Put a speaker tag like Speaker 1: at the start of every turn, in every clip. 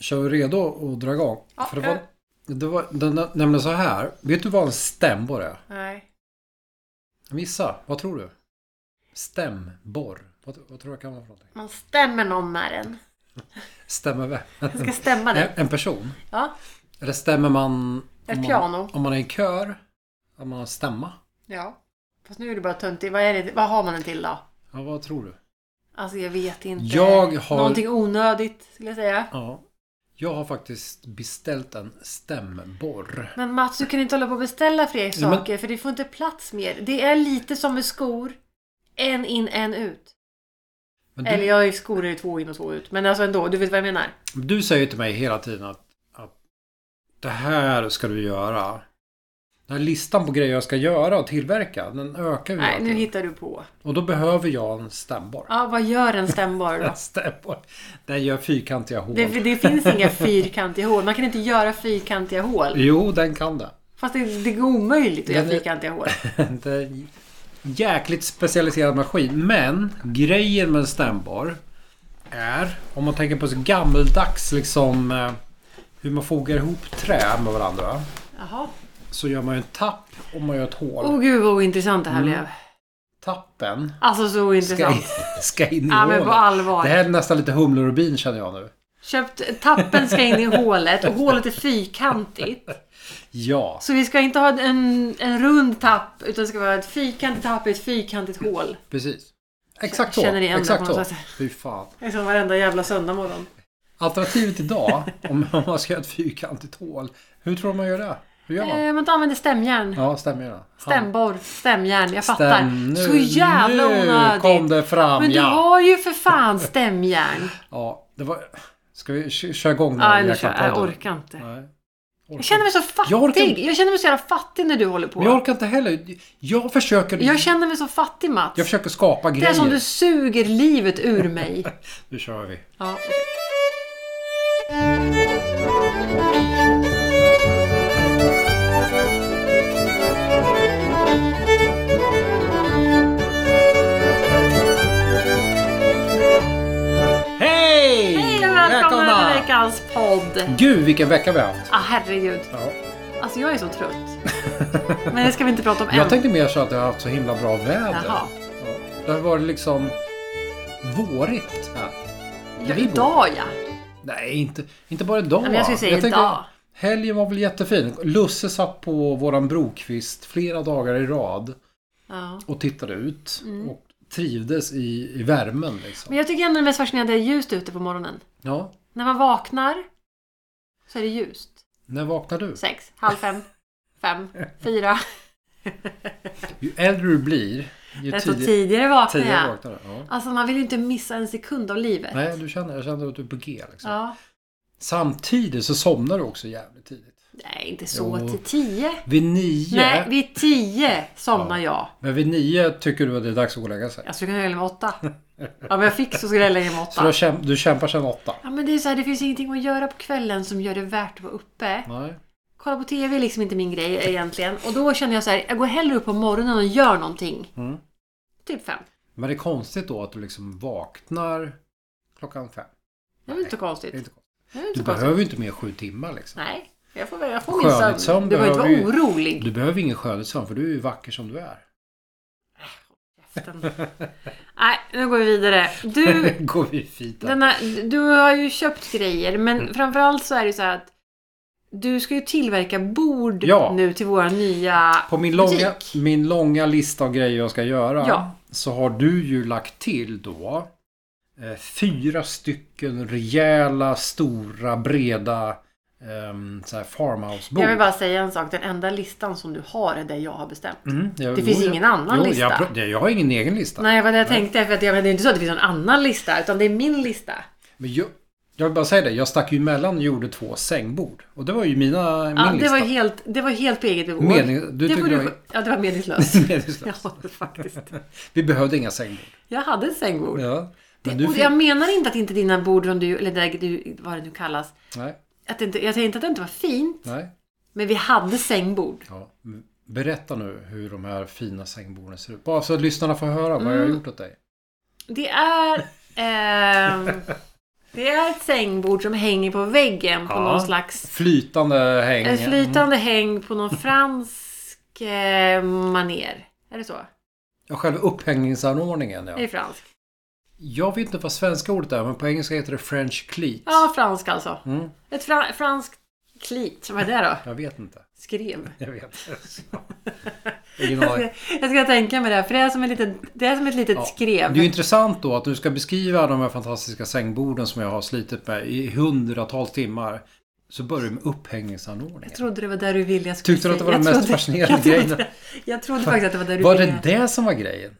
Speaker 1: Kör vi redo att dra igång?
Speaker 2: Ja,
Speaker 1: För det var, det var den, där- nämligen så här. Vet du vad en stämborr är?
Speaker 2: Nej.
Speaker 1: Gissa. Vad tror du? Stämborr. Vad, vad tror du det kan vara för någonting?
Speaker 2: Man stämmer någon med den.
Speaker 1: Stämmer vem?
Speaker 2: Man ska stämma
Speaker 1: En,
Speaker 2: den.
Speaker 1: en person?
Speaker 2: Ja.
Speaker 1: Eller stämmer man...
Speaker 2: Ett
Speaker 1: om man-
Speaker 2: piano.
Speaker 1: Om man är i kör? Om man har stämma?
Speaker 2: Ja. Fast nu är det bara töntigt. Vad, är det? Vad har man den till då?
Speaker 1: Ja, vad tror du?
Speaker 2: Alltså jag vet inte.
Speaker 1: Jag har-
Speaker 2: Någonting onödigt skulle jag säga.
Speaker 1: Ja. Jag har faktiskt beställt en stämborr.
Speaker 2: Men Mats, du kan inte hålla på och beställa fler
Speaker 1: Ja, men-
Speaker 2: saker för det får inte plats mer. Det är lite som med skor. En in, en ut.
Speaker 1: Men
Speaker 2: Eller
Speaker 1: du,
Speaker 2: jag har ju skor är två in och två ut. Men alltså ändå, du vet vad jag menar.
Speaker 1: du säger till mig hela tiden att, att det här ska du göra. Den här listan på grejer jag ska göra och tillverka, den ökar ju hela
Speaker 2: Nej, nu
Speaker 1: tiden.
Speaker 2: hittar du på.
Speaker 1: Och då behöver jag en stämborr.
Speaker 2: Ja, vad gör en stämborr då?
Speaker 1: En stämborr. Den gör fyrkantiga hål.
Speaker 2: Det, det finns inga fyrkantiga hål. Man kan inte göra fyrkantiga hål.
Speaker 1: Jo, den kan det.
Speaker 2: Fast det, det är omöjligt att göra
Speaker 1: Men det-
Speaker 2: fyrkantiga hål.
Speaker 1: Det är en jäkligt specialiserad maskin. Men grejen med en stämborr är, om man tänker på så gammeldags liksom eh, hur man fogar ihop trä med varandra.
Speaker 2: Jaha.
Speaker 1: Så gör man ju en tapp och man gör ett hål.
Speaker 2: Åh gud vad intressant det här
Speaker 1: Mm.
Speaker 2: blev.
Speaker 1: Tappen
Speaker 2: Alltså så
Speaker 1: ska,
Speaker 2: intressant.
Speaker 1: ska in i
Speaker 2: Ja men på
Speaker 1: hålet.
Speaker 2: allvar.
Speaker 1: Det här är nästan lite Humle och Rubin känner jag nu.
Speaker 2: Köpt, tappen ska in i hålet och hålet är fyrkantigt.
Speaker 1: Ja,
Speaker 2: Så vi ska inte ha en, en rund tapp utan det ska vara ett fyrkantigt tapp i ett fyrkantigt hål.
Speaker 1: precis. Exakt så.
Speaker 2: Känner igen det
Speaker 1: Exakt
Speaker 2: på
Speaker 1: så.
Speaker 2: något sätt.
Speaker 1: Fy fan.
Speaker 2: Det är som varenda jävla söndag morgon.
Speaker 1: Alternativet idag, om man ska göra ett fyrkantigt hål. Hur tror du man gör det? Hur gör man?
Speaker 2: Eh, man använder stämjärn.
Speaker 1: Ja, stämmer ju det. Hand-
Speaker 2: Stämborr, stämjärn. Jag fattar.
Speaker 1: Stäm-
Speaker 2: Så jävla
Speaker 1: Nu kom
Speaker 2: onödigt.
Speaker 1: det fram,
Speaker 2: Men du
Speaker 1: ja.
Speaker 2: har ju för fan stämjärn.
Speaker 1: ja det var... Ska vi kö- köra igång den
Speaker 2: Ja,
Speaker 1: här
Speaker 2: nu
Speaker 1: jäkla
Speaker 2: kör jag. Jag
Speaker 1: podden?
Speaker 2: orkar inte.
Speaker 1: Nej. Orkar.
Speaker 2: Jag känner mig så
Speaker 1: Jag orkar
Speaker 2: fattig.
Speaker 1: inte.
Speaker 2: Jag känner mig så jävla fattig när du håller på.
Speaker 1: Men jag orkar inte heller. Jag försöker...
Speaker 2: Jag känner mig så fattig Mats.
Speaker 1: jag försöker skapa
Speaker 2: Det
Speaker 1: grejer.
Speaker 2: är som du suger livet ur mig.
Speaker 1: Nu kör vi.
Speaker 2: Ja.
Speaker 1: Hej!
Speaker 2: Hej och välkomna till veckans podd.
Speaker 1: Gud, vilken vecka vi har haft.
Speaker 2: Ah, herregud.
Speaker 1: Ja.
Speaker 2: Alltså jag är så trött. Men det ska vi inte prata om än.
Speaker 1: Jag tänkte mer så att jag har haft så himla bra väder.
Speaker 2: Jaha.
Speaker 1: Ja. Det har varit liksom vårigt här.
Speaker 2: Ja,
Speaker 1: vi går.
Speaker 2: idag ja.
Speaker 1: Nej, inte, inte bara idag.
Speaker 2: men jag skulle säga
Speaker 1: tänker-
Speaker 2: idag.
Speaker 1: Helgen var väl jättefin. Lusse satt på våran brokvist flera dagar i rad
Speaker 2: ja.
Speaker 1: och tittade ut. Och trivdes i, i värmen liksom.
Speaker 2: Mm. Men jag tycker ändå det mest fascinerande är ljust ute på morgonen.
Speaker 1: Ja.
Speaker 2: När man vaknar så är det ljust.
Speaker 1: När vaknar du?
Speaker 2: Sex, halv fem, fem, fyra.
Speaker 1: Ju äldre du blir, ju
Speaker 2: Desto
Speaker 1: tidig-
Speaker 2: tidigare vaknar
Speaker 1: tidigare
Speaker 2: jag.
Speaker 1: vaknar du. Ja.
Speaker 2: Alltså man vill ju inte missa en sekund av livet.
Speaker 1: Nej, du känner, jag känner att du är på G. Liksom.
Speaker 2: Ja.
Speaker 1: Samtidigt så somnar du också jävligt tidigt.
Speaker 2: Nej, inte så.
Speaker 1: Jo.
Speaker 2: Till tio.
Speaker 1: Vid nio,
Speaker 2: Nej, vid tio somnar jag.
Speaker 1: men vid nio tycker du att det är dags att gå och lägga sig.
Speaker 2: Jag skulle kunna lägga mig åtta. Ja, men jag fick så skulle jag lägga mig
Speaker 1: Så du, har
Speaker 2: åtta.
Speaker 1: kämp- du kämpar sedan åtta?
Speaker 2: Ja, men det är så här, det finns ingenting att göra på kvällen som gör det värt att vara uppe.
Speaker 1: Nej.
Speaker 2: Kolla på TV är liksom inte min grej egentligen. Och då känner jag så här, jag går hellre upp på morgonen och gör någonting.
Speaker 1: Mm.
Speaker 2: Typ fem.
Speaker 1: Men det är konstigt då att du liksom vaknar klockan fem.
Speaker 2: Det är väl inte så
Speaker 1: Det är
Speaker 2: konstigt.
Speaker 1: inte konstigt.
Speaker 2: Det är väl inte
Speaker 1: Du
Speaker 2: så konstigt.
Speaker 1: behöver ju inte mer än sju timmar liksom.
Speaker 2: Nej, jag får, jag får min sömn.
Speaker 1: Skönhetssömn
Speaker 2: du behöver inte
Speaker 1: behöver
Speaker 2: vara orolig.
Speaker 1: Du behöver ingen skönhetssömn för du är ju vacker som du är.
Speaker 2: Käften. Nej, nu går vi vidare. Du,
Speaker 1: Går vi fint där.
Speaker 2: Denna, du har ju köpt grejer, men
Speaker 1: Mm.
Speaker 2: framförallt så är det så här att du ska ju tillverka bord
Speaker 1: Ja.
Speaker 2: nu till våra nya
Speaker 1: På min långa,
Speaker 2: butik.
Speaker 1: min långa lista av grejer jag ska göra
Speaker 2: Ja.
Speaker 1: så har du ju lagt till då eh, fyra stycken rejäla, stora, breda ehm, så här farmhouse-bord.
Speaker 2: Jag vill bara säga en sak. Den enda listan som du har är det jag har bestämt.
Speaker 1: Mm, jag-
Speaker 2: Det finns
Speaker 1: jo,
Speaker 2: ingen
Speaker 1: jag,
Speaker 2: annan
Speaker 1: jo,
Speaker 2: lista.
Speaker 1: Jag, pr- det- jag har ingen egen lista.
Speaker 2: Nej, vad jag tänkte. För att jag, men det är inte så att det finns någon annan lista, utan det är min lista.
Speaker 1: Men jag, jag vill bara säga det, jag stack ju emellan och gjorde två sängbord. Och det var ju mina, min
Speaker 2: Ja, det,
Speaker 1: lista.
Speaker 2: var ju helt, det var helt på eget bevåg.
Speaker 1: Mening- du
Speaker 2: det,
Speaker 1: tyckte
Speaker 2: får
Speaker 1: det var-
Speaker 2: ja, det var meningslöst.
Speaker 1: Meningslöst.
Speaker 2: ja, faktiskt.
Speaker 1: Vi behövde inga sängbord.
Speaker 2: Jag hade ett sängbord.
Speaker 1: Ja. Men
Speaker 2: Det,
Speaker 1: du
Speaker 2: och
Speaker 1: fick...
Speaker 2: jag menar inte att inte dina bord, som du, eller där du, vad det nu kallas,
Speaker 1: Nej,
Speaker 2: att det inte, jag säger inte att det inte var fint.
Speaker 1: nej.
Speaker 2: Men vi hade sängbord.
Speaker 1: Ja. Berätta nu hur de här fina sängborden ser ut. Bara
Speaker 2: Mm.
Speaker 1: så att lyssnarna får höra vad jag har gjort åt dig.
Speaker 2: Det är... ehm, Det är ett sängbord som hänger på väggen på
Speaker 1: Ja.
Speaker 2: någon slags
Speaker 1: Flytande häng.
Speaker 2: ett flytande häng på någon fransk eh, maner. Är det så?
Speaker 1: Mm. Ja, själva upphängningsanordningen
Speaker 2: Är det
Speaker 1: ja.
Speaker 2: fransk?
Speaker 1: Jag vet inte vad svenska ordet är men på engelska heter det French cleat.
Speaker 2: Ja, fransk alltså.
Speaker 1: Mm.
Speaker 2: Ett fra- franskt klit. Vad är det då?
Speaker 1: Jag vet inte.
Speaker 2: Skrev.
Speaker 1: Jag vet inte. Ingen aning.
Speaker 2: Jag ska tänka mig det, här, för det är som, en liten, det är som ett litet
Speaker 1: Ja.
Speaker 2: skrev.
Speaker 1: Det är ju intressant då att du ska beskriva de här fantastiska sängborden som jag har slitit med i hundratals timmar. Så börjar du med upphängningsanordningen.
Speaker 2: Jag trodde det var där du ville jag skulle
Speaker 1: Tyckte du att det var
Speaker 2: säga.
Speaker 1: den
Speaker 2: Jag
Speaker 1: mest
Speaker 2: trodde-
Speaker 1: fascinerande
Speaker 2: jag trodde-
Speaker 1: grejen?
Speaker 2: Jag trodde faktiskt att det var där du
Speaker 1: Var
Speaker 2: ville.
Speaker 1: det det som var grejen?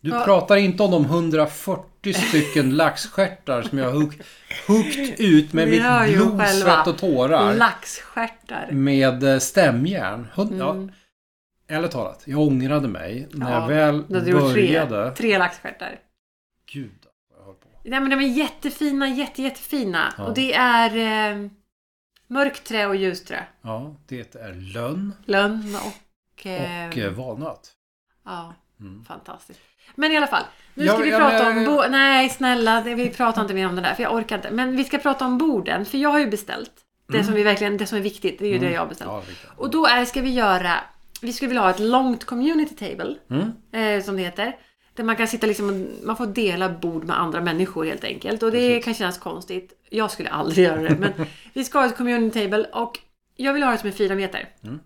Speaker 1: Du
Speaker 2: Ja.
Speaker 1: pratar inte om de 140 stycken laxstjärtar som jag har hugg- huggt ut med
Speaker 2: Vi
Speaker 1: mitt
Speaker 2: hör ju
Speaker 1: blod,
Speaker 2: själva.
Speaker 1: svett och tårar.
Speaker 2: Laxstjärtar.
Speaker 1: Med eh, stämjärn. Hund, ja, ärligt talat, jag ångrade mig när
Speaker 2: Mm. Ja,
Speaker 1: jag väl
Speaker 2: Du hade gjort
Speaker 1: började.
Speaker 2: tre, tre laxstjärtar.
Speaker 1: Gud, vad jag höll på.
Speaker 2: Nej men de är jättefina, jätte, jättefina.
Speaker 1: Ja.
Speaker 2: Och det är eh, mörkt trä och ljust trä.
Speaker 1: Ja, det är lönn
Speaker 2: Lönn och... Eh,
Speaker 1: och eh, valnöt.
Speaker 2: Ja,
Speaker 1: Mm.
Speaker 2: fantastiskt. Men i alla fall. Nu
Speaker 1: Ja,
Speaker 2: ska vi
Speaker 1: ja,
Speaker 2: prata
Speaker 1: men-
Speaker 2: om... Bo- Nej, snälla. det- Vi pratar inte mer om det där. För jag orkar inte. Men vi ska prata om borden. För jag har ju beställt. Det som vi verkligen... Det som är viktigt. Det är ju det jag har beställt.
Speaker 1: Mm. Ja, riktigt.
Speaker 2: Och då är, ska vi göra... Vi skulle vilja ha ett långt community table.
Speaker 1: Mm.
Speaker 2: Eh, som det heter. Där man kan sitta liksom och, Man får dela bord med andra människor helt enkelt. Och det kan kännas konstigt. Jag skulle aldrig göra det. Men vi ska ha ett community table. Och jag vill ha det som är fyra meter.
Speaker 1: Mm.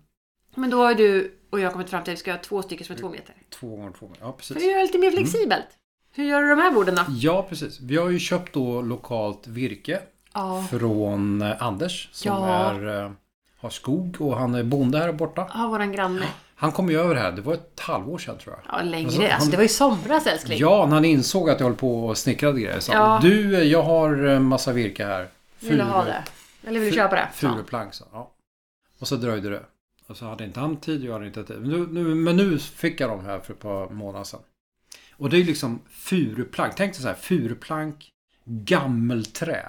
Speaker 2: Men då har ju du och jag kommit fram till att vi ska ha två stycken som är
Speaker 1: Mm.
Speaker 2: två meter.
Speaker 1: Två gånger två gånger. Ja,
Speaker 2: För
Speaker 1: precis.
Speaker 2: att göra det lite mer
Speaker 1: Mm.
Speaker 2: flexibelt. Hur gör du de här borden då?
Speaker 1: Ja, precis. Vi har ju köpt då lokalt virke
Speaker 2: Ja.
Speaker 1: från eh, Anders som
Speaker 2: Ja.
Speaker 1: är, eh, har skog och han är bonde här borta.
Speaker 2: Har våran granne.
Speaker 1: Han kom ju över här, det var ett halvår sedan tror jag.
Speaker 2: Ja, längre.
Speaker 1: Alltså,
Speaker 2: Alltså,
Speaker 1: han-
Speaker 2: det var ju somras älskling.
Speaker 1: Ja, när han insåg att jag höll på och snickrade grejer så
Speaker 2: Ja.
Speaker 1: han, Du, eh, jag har eh, massa virke här.
Speaker 2: vill du
Speaker 1: Furu-
Speaker 2: ha det? Eller vill du
Speaker 1: fu-
Speaker 2: köpa det? Ja.
Speaker 1: Furuplank sa han. ja. Och så dröjde det. Och så hade inte han tid och jag hade inte tid. Men nu, nu, men nu fick jag dem här för ett par månader sedan. Och det är liksom furuplank. Tänk dig så här, furuplank, gammelträ.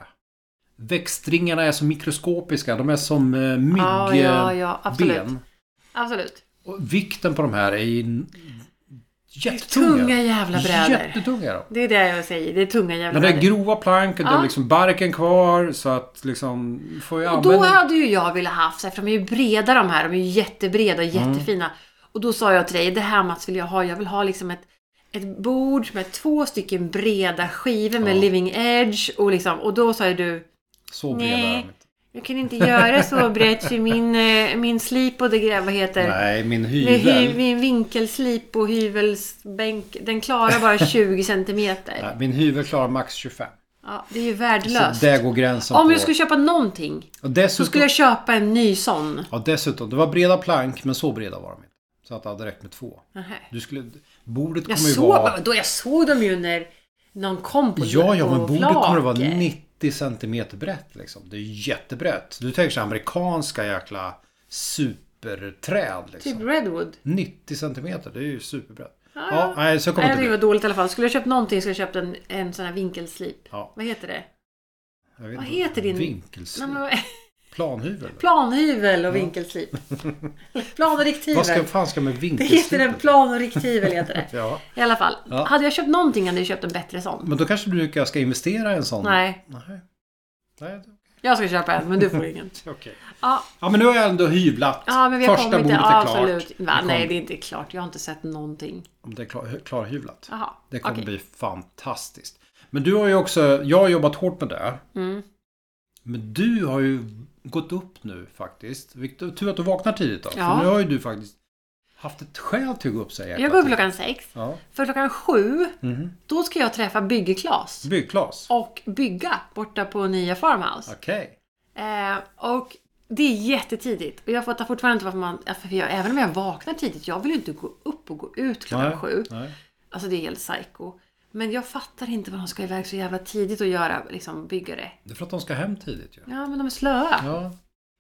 Speaker 1: Växtringarna är så mikroskopiska. De är som eh, myggben.
Speaker 2: Ja, ja, ja. Absolut. Absolut.
Speaker 1: Och vikten på de här är ju jättetunga.
Speaker 2: Tunga jävla brädor.
Speaker 1: Jättetunga de.
Speaker 2: Det är det jag säger. Det är tunga jävla
Speaker 1: Men det är
Speaker 2: brädor.
Speaker 1: grova plank och det är
Speaker 2: Ja.
Speaker 1: liksom barken kvar så att liksom får jag
Speaker 2: Och då
Speaker 1: använda...
Speaker 2: hade ju jag velat haft, så här, för de är ju breda de här. De är ju jättebreda och
Speaker 1: Mm.
Speaker 2: jättefina. Och då sa jag till dig, det här Mats vill jag ha. Jag vill ha liksom ett, ett bord med två stycken breda skivor med
Speaker 1: Ja.
Speaker 2: living edge. Och, liksom, och då sa ju du,
Speaker 1: Så breda är de
Speaker 2: Nej.
Speaker 1: inte.
Speaker 2: jag kan inte göra så brett för min, eh, min slip och det gre- vad heter
Speaker 1: Nej, min
Speaker 2: Min, hy,
Speaker 1: hyvel.
Speaker 2: min vinkelslip och hyvelsbänk, den klarar bara 20 centimeter.
Speaker 1: Nej, min hyvel klarar max 25.
Speaker 2: Ja, det är ju
Speaker 1: Så
Speaker 2: värdelöst.
Speaker 1: där går gränsen
Speaker 2: Om
Speaker 1: på.
Speaker 2: jag skulle köpa någonting
Speaker 1: och
Speaker 2: så
Speaker 1: dessutom,
Speaker 2: skulle jag köpa en ny sån.
Speaker 1: ja, dessutom, det var breda plank men så breda var de inte. Så att det hade räckt med två.
Speaker 2: Nähä.
Speaker 1: Du skulle, bordet
Speaker 2: Jag
Speaker 1: kommer ju
Speaker 2: såg,
Speaker 1: vara...
Speaker 2: då, jag såg dem ju när någon kom på
Speaker 1: Ja, ja,
Speaker 2: på
Speaker 1: men bordet kommer att vara
Speaker 2: Vlake.
Speaker 1: 90 centimeter brett liksom. Det är jättebrett. Du tänker sig amerikanska jäkla superträd liksom.
Speaker 2: Typ Redwood.
Speaker 1: 90 centimeter, det är ju superbrett.
Speaker 2: Ja,
Speaker 1: Ja, nej, så kommer
Speaker 2: Nej,
Speaker 1: det inte
Speaker 2: jag tyckte det
Speaker 1: bli.
Speaker 2: var dåligt i alla fall. Skulle jag köpt någonting skulle jag köpt en, en sån här vinkelslip.
Speaker 1: Ja,
Speaker 2: Vad heter det?
Speaker 1: jag vet
Speaker 2: Vad
Speaker 1: inte.
Speaker 2: heter din-
Speaker 1: Vinkelslip.
Speaker 2: Nej, men vad-
Speaker 1: Planhyvel.
Speaker 2: Planhyvel och vinkelslip. plan och
Speaker 1: Vad ska,
Speaker 2: rikthyvel.
Speaker 1: fan ska med
Speaker 2: Det
Speaker 1: vinkelslip?
Speaker 2: heter en plan och rikthyvel heter det.
Speaker 1: Ja.
Speaker 2: I alla fall.
Speaker 1: Ja. Mm.
Speaker 2: Hade jag köpt någonting hade jag köpt en bättre sån.
Speaker 1: Men då kanske du ska- ska investera i en sån?
Speaker 2: Nej,
Speaker 1: Nej. Nej,
Speaker 2: jag ska köpa en men du får ingen.
Speaker 1: det- okej.
Speaker 2: Ja,
Speaker 1: Ja, men nu har jag ändå hyvlat.
Speaker 2: ja men vi har
Speaker 1: Första
Speaker 2: kommit
Speaker 1: bordet är
Speaker 2: ja,
Speaker 1: klart.
Speaker 2: Absolut.
Speaker 1: Vi
Speaker 2: Va,
Speaker 1: kom-
Speaker 2: nej, det är inte klart. Jag har inte sett någonting.
Speaker 1: Om det är klar, klarhyvlat.
Speaker 2: Jaha,
Speaker 1: Det kommer
Speaker 2: okej.
Speaker 1: bli fantastiskt. Men du har ju också, jag har jobbat hårt med det.
Speaker 2: Mm.
Speaker 1: Men du har ju gått upp nu faktiskt. Vilket, tur att du vaknar tidigt då.
Speaker 2: Ja.
Speaker 1: För nu har ju du faktiskt haft ett skäl till att gå upp så jäkla
Speaker 2: Jag går upp
Speaker 1: tidigt.
Speaker 2: klockan sex.
Speaker 1: Ja.
Speaker 2: För klockan sju,
Speaker 1: Mhm.
Speaker 2: då ska jag träffa Bygge-Klas
Speaker 1: Byggklas.
Speaker 2: och bygga borta på nya Farmhouse.
Speaker 1: Okej.
Speaker 2: Eh, och det är jättetidigt. Och jag fattar fortfarande inte varför man... ja, För jag, även om jag vaknar tidigt, jag vill ju inte gå upp och gå ut klockan
Speaker 1: Nej,
Speaker 2: sju.
Speaker 1: Nej.
Speaker 2: Alltså det är helt psycho. Men jag fattar inte vad de ska iväg så jävla tidigt och göra, liksom byggare.
Speaker 1: Det är för att de ska hem tidigt ju.
Speaker 2: Ja, men de är slöa.
Speaker 1: Ja.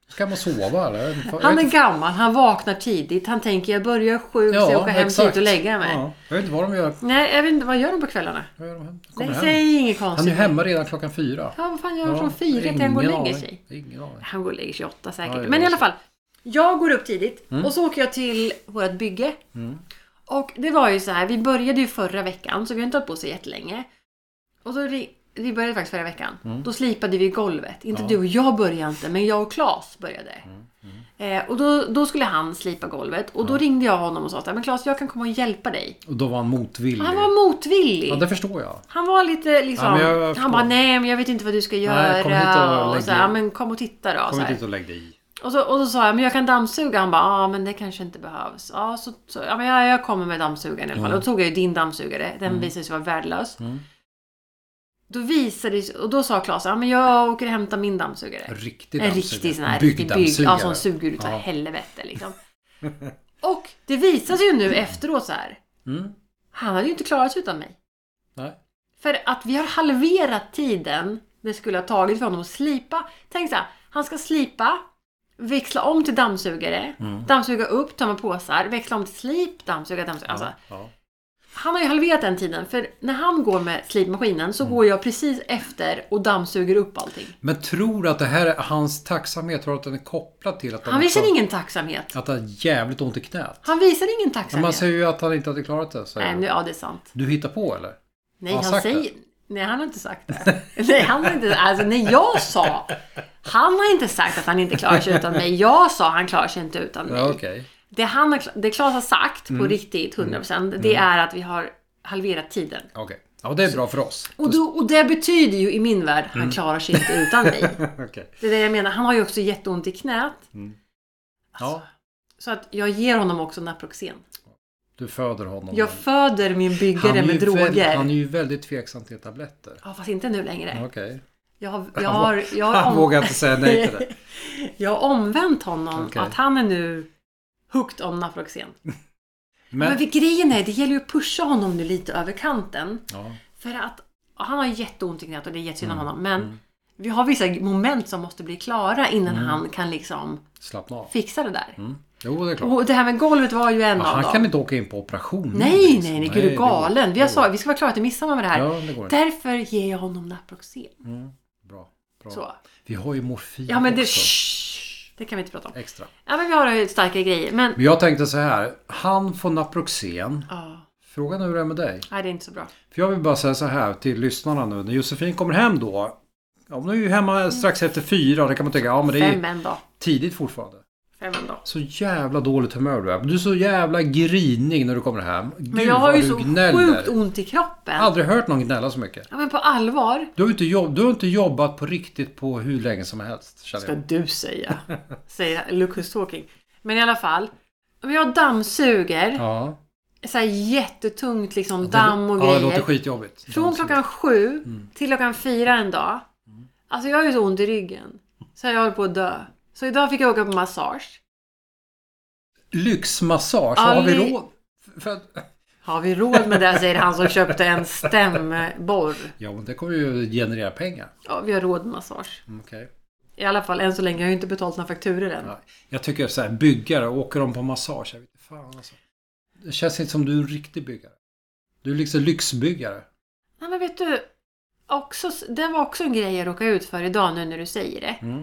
Speaker 1: Ska man sova eller? Jag vet inte-
Speaker 2: Han är gammal, han vaknar tidigt, han tänker jag börjar sju så jag åker hem tidigt och lägger mig.
Speaker 1: Ja. Jag vet inte vad de gör.
Speaker 2: Nej, jag vet inte, vad gör de på kvällarna?
Speaker 1: Vad gör de hem? De
Speaker 2: Nej,
Speaker 1: kommer hem.
Speaker 2: säg inget konstigt.
Speaker 1: Han är hemma redan klockan fyra.
Speaker 2: Ja, vad fan gör han från fyra till han går och
Speaker 1: ingen
Speaker 2: lägger
Speaker 1: aning.
Speaker 2: sig?
Speaker 1: Ingen aning.
Speaker 2: Han går och lägger sig åtta säkert.
Speaker 1: Ja, Mm. det
Speaker 2: Men i
Speaker 1: är
Speaker 2: alla
Speaker 1: så.
Speaker 2: fall. Jag går upp tidigt och så åker jag till vårt bygge.
Speaker 1: Mm.
Speaker 2: Och det var ju så här, vi började ju förra veckan så vi har inte hållit på så jättelänge. Och så ri- vi började faktiskt förra veckan.
Speaker 1: Mm.
Speaker 2: Då slipade vi golvet. Inte du och jag började inte, men jag och Claes började.
Speaker 1: Mm,
Speaker 2: Eh, och då, då skulle han slipa golvet och då ringde jag honom och sa så här, men Claes jag kan komma och hjälpa dig.
Speaker 1: Och då var han motvillig.
Speaker 2: Och han var motvillig.
Speaker 1: Ja, det förstår jag.
Speaker 2: Han var lite
Speaker 1: Ja,
Speaker 2: liksom,
Speaker 1: men jag förstår.
Speaker 2: han bara nej men jag vet inte vad du ska göra.
Speaker 1: Nej, kom hit och lägg
Speaker 2: så här, ja,
Speaker 1: dig.
Speaker 2: men kom och titta då. Så
Speaker 1: Kom
Speaker 2: här.
Speaker 1: inte hit och lägg dig i.
Speaker 2: Och så, och så sa jag, men jag kan dammsuga. Han bara, ja ah, men det kanske inte behövs. Ja, så, så, ja men jag, jag kommer med dammsugaren i alla fall. Och då tog jag ju din dammsugare. Den
Speaker 1: Mm.
Speaker 2: visade sig vara värdelös. Då visade det sig- och då sa Claes, ja men jag åker och hämtar min dammsugare.
Speaker 1: Riktig
Speaker 2: En
Speaker 1: dammsugare.
Speaker 2: riktig sån här riktig
Speaker 1: Byggdammsugare.
Speaker 2: bygg, ja, som suger ut
Speaker 1: Ja.
Speaker 2: ja. helvete liksom. Och det visade sig ju nu efteråt så här.
Speaker 1: Mm.
Speaker 2: Han hade ju inte klarat sig utan mig.
Speaker 1: Nej.
Speaker 2: För att vi har halverat tiden det skulle ha tagit för honom att slipa. Tänk så här, han ska slipa, växla om till dammsugare,
Speaker 1: Mm.
Speaker 2: dammsuga upp, tömma påsar, växla om till slip, dammsuga, dammsuga. Alltså,
Speaker 1: Ja.
Speaker 2: han har ju halverat den tiden, för när han går med slipmaskinen så går jag precis efter och dammsuger upp allting.
Speaker 1: Men tror du att det här är hans tacksamhet? Tror du att den är kopplad till att
Speaker 2: Han visar ingen tacksamhet.
Speaker 1: Att han har jävligt ont i knät?
Speaker 2: Han visar ingen
Speaker 1: Men man
Speaker 2: tacksamhet.
Speaker 1: säger ju att han inte hade klarat det. Säger
Speaker 2: Nej,
Speaker 1: du.
Speaker 2: nu, ja det är sant.
Speaker 1: du hittar på eller?
Speaker 2: Nej,
Speaker 1: Har han sagt
Speaker 2: han, säger... Nej, han har inte sagt det. Nej, han har inte... Alltså, när jag sa... Han har inte sagt att han inte klarar sig utan mig. Jag sa han klarar sig inte utan mig.
Speaker 1: Ja, Mm. okej.
Speaker 2: Det, han har, det Claes har sagt på riktigt, 100%, det
Speaker 1: Mm.
Speaker 2: är att vi har halverat tiden.
Speaker 1: Okej. Ja, det är bra för oss.
Speaker 2: Och, då, och det betyder ju i min värld,
Speaker 1: Mm.
Speaker 2: han klarar sig inte utan mig.
Speaker 1: Okej.
Speaker 2: Det är det jag menar. Han har ju också jätteont i knät. Alltså.
Speaker 1: Ja,
Speaker 2: Så att jag ger honom också Naproxen.
Speaker 1: du föder honom.
Speaker 2: Jag föder min
Speaker 1: Han är
Speaker 2: byggare
Speaker 1: ju
Speaker 2: med droger.
Speaker 1: väl- han är ju väldigt tveksam till tabletter.
Speaker 2: Ja, fast inte nu längre.
Speaker 1: Okej.
Speaker 2: Jag, har- jag har... Jag har
Speaker 1: Han
Speaker 2: om-
Speaker 1: vågar inte säga nej till det.
Speaker 2: Jag har omvänt honom
Speaker 1: Okej.
Speaker 2: att han är nu hooked om Naproxen. Men,
Speaker 1: Men,
Speaker 2: vid- grejen är, det gäller ju att pusha honom nu lite över kanten.
Speaker 1: ja,
Speaker 2: För att han har jätteont i knät och det är jättesynd om
Speaker 1: Mm.
Speaker 2: honom. Men vi har vissa moment som måste bli klara innan
Speaker 1: Mm.
Speaker 2: han kan liksom
Speaker 1: slappna av.
Speaker 2: fixa det där.
Speaker 1: Mm. Jo, det är klart.
Speaker 2: Och det här med golvet var ju en
Speaker 1: Men
Speaker 2: av
Speaker 1: han
Speaker 2: dem.
Speaker 1: kan inte åka in på operation. nu,
Speaker 2: Nej,
Speaker 1: liksom.
Speaker 2: nej, nej, gud du är
Speaker 1: det går-
Speaker 2: galen. Vi,
Speaker 1: det
Speaker 2: har
Speaker 1: går.
Speaker 2: sa, vi ska vara klara till midsommar med det här.
Speaker 1: Ja, det går inte. Mm.
Speaker 2: Därför ger jag honom Naproxen.
Speaker 1: Bra. bra.
Speaker 2: Så.
Speaker 1: Vi har ju morfin
Speaker 2: Ja, men det...
Speaker 1: också.
Speaker 2: Shh, det kan vi inte prata om.
Speaker 1: Extra.
Speaker 2: Ja, men vi har ju starka grejer. Men...
Speaker 1: Men jag tänkte så här. Han får Naproxen.
Speaker 2: Ja,
Speaker 1: Frågan är hur det är med dig.
Speaker 2: nej, det är inte så bra.
Speaker 1: För jag vill bara säga så här till lyssnarna nu. När Josefin kommer hem då. Ja, hon är ju hemma strax efter fyra. Det kan man tycka. Ja, men det är
Speaker 2: Fem
Speaker 1: ju
Speaker 2: en dag.
Speaker 1: tidigt fortfarande.
Speaker 2: Fem en dag.
Speaker 1: Så jävla dåligt humör du är. Du är så jävla grinig när du kommer hem. Gud,
Speaker 2: Men jag har
Speaker 1: vad
Speaker 2: ju
Speaker 1: du
Speaker 2: så
Speaker 1: gnäller.
Speaker 2: sjukt ont i kroppen.
Speaker 1: Aldrig hört någon gnälla så mycket.
Speaker 2: Ja, men på allvar.
Speaker 1: Du har ju inte, jobb, du har inte jobbat på riktigt på hur länge som helst. Känner
Speaker 2: Ska
Speaker 1: jag.
Speaker 2: du säga. Säger Lucas Talking. Men i alla fall. Om jag dammsuger.
Speaker 1: Ja.
Speaker 2: Så här jättetungt liksom damm och
Speaker 1: Ja, det låter Mm.
Speaker 2: grejer.
Speaker 1: skitjobbigt.
Speaker 2: Från klockan sju till klockan fyra en dag.
Speaker 1: Mm.
Speaker 2: Alltså jag har ju så ont i ryggen. Så jag håller på att dö. Så idag fick jag åka på massage.
Speaker 1: Lyxmassage, vad har vi
Speaker 2: Ali-
Speaker 1: råd? För- För att...
Speaker 2: Har vi råd med det säger han som köpte en stämborr.
Speaker 1: Ja, men det kommer ju generera pengar.
Speaker 2: Ja, vi har råd med massage.
Speaker 1: Mm, okej.
Speaker 2: I alla fall än så länge. Jag har ju inte betalt några fakturor än.
Speaker 1: Ja. Jag tycker så här, byggare, åker de på massage? Jag vet inte fan alltså. Det känns inte som du är en riktig byggare. Du är liksom lyxbyggare.
Speaker 2: Nej men vet du, också, det var också en grej jag råkade ut för idag nu när du säger det.
Speaker 1: Mm.